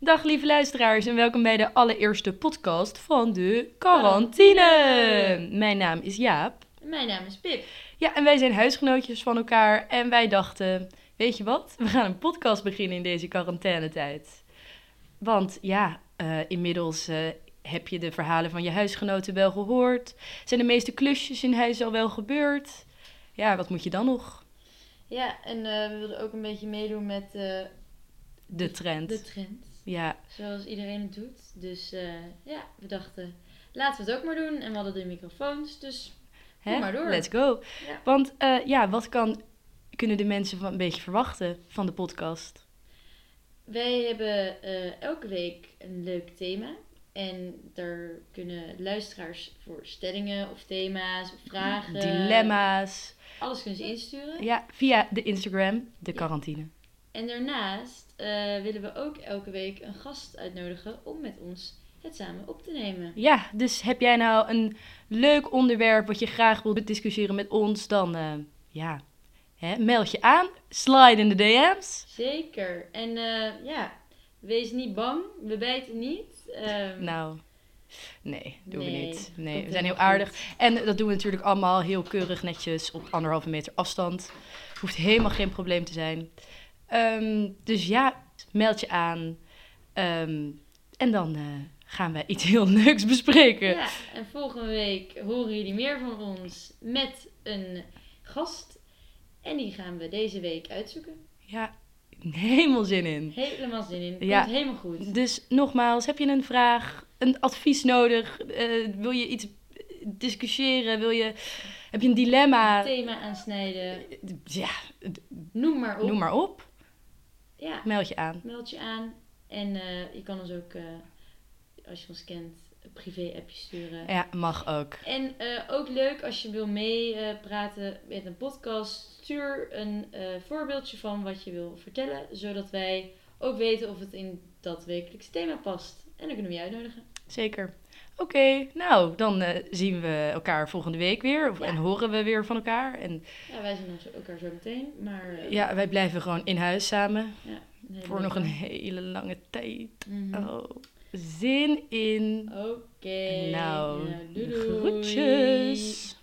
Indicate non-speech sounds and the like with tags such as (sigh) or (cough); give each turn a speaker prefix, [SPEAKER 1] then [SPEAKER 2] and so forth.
[SPEAKER 1] Dag lieve luisteraars en welkom bij de allereerste podcast van de quarantine. Mijn naam is Jaap.
[SPEAKER 2] Mijn naam is Pip.
[SPEAKER 1] Ja, en wij zijn huisgenootjes van elkaar en wij dachten, weet je wat, we gaan een podcast beginnen in deze quarantainetijd. Want ja, eh, inmiddels eh, heb je de verhalen van je huisgenoten wel gehoord. Zijn de meeste klusjes in huis al wel gebeurd? Ja, wat moet je dan nog?
[SPEAKER 2] Ja, en eh, we wilden ook een beetje meedoen met eh,
[SPEAKER 1] De trend.
[SPEAKER 2] de trend.
[SPEAKER 1] Ja,
[SPEAKER 2] Zoals iedereen het doet. Dus eh, ja, we dachten, laten we het ook maar doen. En we hadden de microfoons, dus
[SPEAKER 1] hè?
[SPEAKER 2] Kom maar door.
[SPEAKER 1] let's go.
[SPEAKER 2] Ja.
[SPEAKER 1] Want eh, ja, wat kan, kunnen de mensen van, een beetje verwachten van de podcast?
[SPEAKER 2] wij hebben eh, elke week een leuk thema. En daar kunnen luisteraars voor stellingen of thema's of vragen.
[SPEAKER 1] Dilemma's.
[SPEAKER 2] Alles kunnen ze insturen.
[SPEAKER 1] Ja, via de Instagram, de
[SPEAKER 2] eh. Ja.
[SPEAKER 1] quarantine.
[SPEAKER 2] En daarnaast eh, willen we ook elke week een gast uitnodigen om met ons het samen op te nemen.
[SPEAKER 1] Ja, dus heb jij nou een leuk onderwerp wat je graag wilt discussiëren met ons, dan eh, ja, hè, meld je aan. Slide in de DM's.
[SPEAKER 2] Zeker. En eh, ja, wees niet bang. We bijten niet. Ehm,
[SPEAKER 1] Nou, nee, doen we
[SPEAKER 2] nee,
[SPEAKER 1] niet.
[SPEAKER 2] dat
[SPEAKER 1] Nee, we
[SPEAKER 2] doen
[SPEAKER 1] zijn heel
[SPEAKER 2] niet.
[SPEAKER 1] aardig. En dat doen we natuurlijk allemaal heel keurig, netjes, op anderhalve meter afstand. Hoeft helemaal geen probleem te zijn. Ehm, dus ja, meld je aan. Ehm, en dan eh, gaan we iets heel (laughs) leuks bespreken.
[SPEAKER 2] Ja, en volgende week horen jullie meer van ons met een gast. En die gaan we deze week uitzoeken.
[SPEAKER 1] ja helemaal zin in.
[SPEAKER 2] Helemaal zin in. Komt
[SPEAKER 1] Ja.
[SPEAKER 2] helemaal goed.
[SPEAKER 1] Dus nogmaals, heb je een vraag, een advies nodig? Eh, wil je iets discussiëren? Wil je, heb je een dilemma?
[SPEAKER 2] Thema aansnijden.
[SPEAKER 1] Ja,
[SPEAKER 2] Noem maar op.
[SPEAKER 1] noem maar op.
[SPEAKER 2] Ja,
[SPEAKER 1] Meld je aan.
[SPEAKER 2] meld je aan. En eh, je kan ons ook, eh, als je ons kent, een privé-appje sturen.
[SPEAKER 1] Ja, mag ook.
[SPEAKER 2] En eh, ook leuk als je wil meepraten met een podcast. Stuur een eh, voorbeeldje van wat je wil vertellen. Zodat wij ook weten of het in dat wekelijks thema past. En dan kunnen we je uitnodigen.
[SPEAKER 1] Zeker. Oké, nou, dan eh, zien we elkaar volgende week weer. Of-
[SPEAKER 2] Ja.
[SPEAKER 1] En horen we weer van elkaar. En
[SPEAKER 2] Ja, wij zien ons- elkaar zo meteen. Maar eh,
[SPEAKER 1] ja, wij blijven gewoon in huis samen.
[SPEAKER 2] een hele
[SPEAKER 1] Voor nog een
[SPEAKER 2] leuke.
[SPEAKER 1] hele lange tijd.
[SPEAKER 2] Mhm.
[SPEAKER 1] Oh, zin in.
[SPEAKER 2] Oké.
[SPEAKER 1] Nou,
[SPEAKER 2] Nou, doei doei.
[SPEAKER 1] groetjes.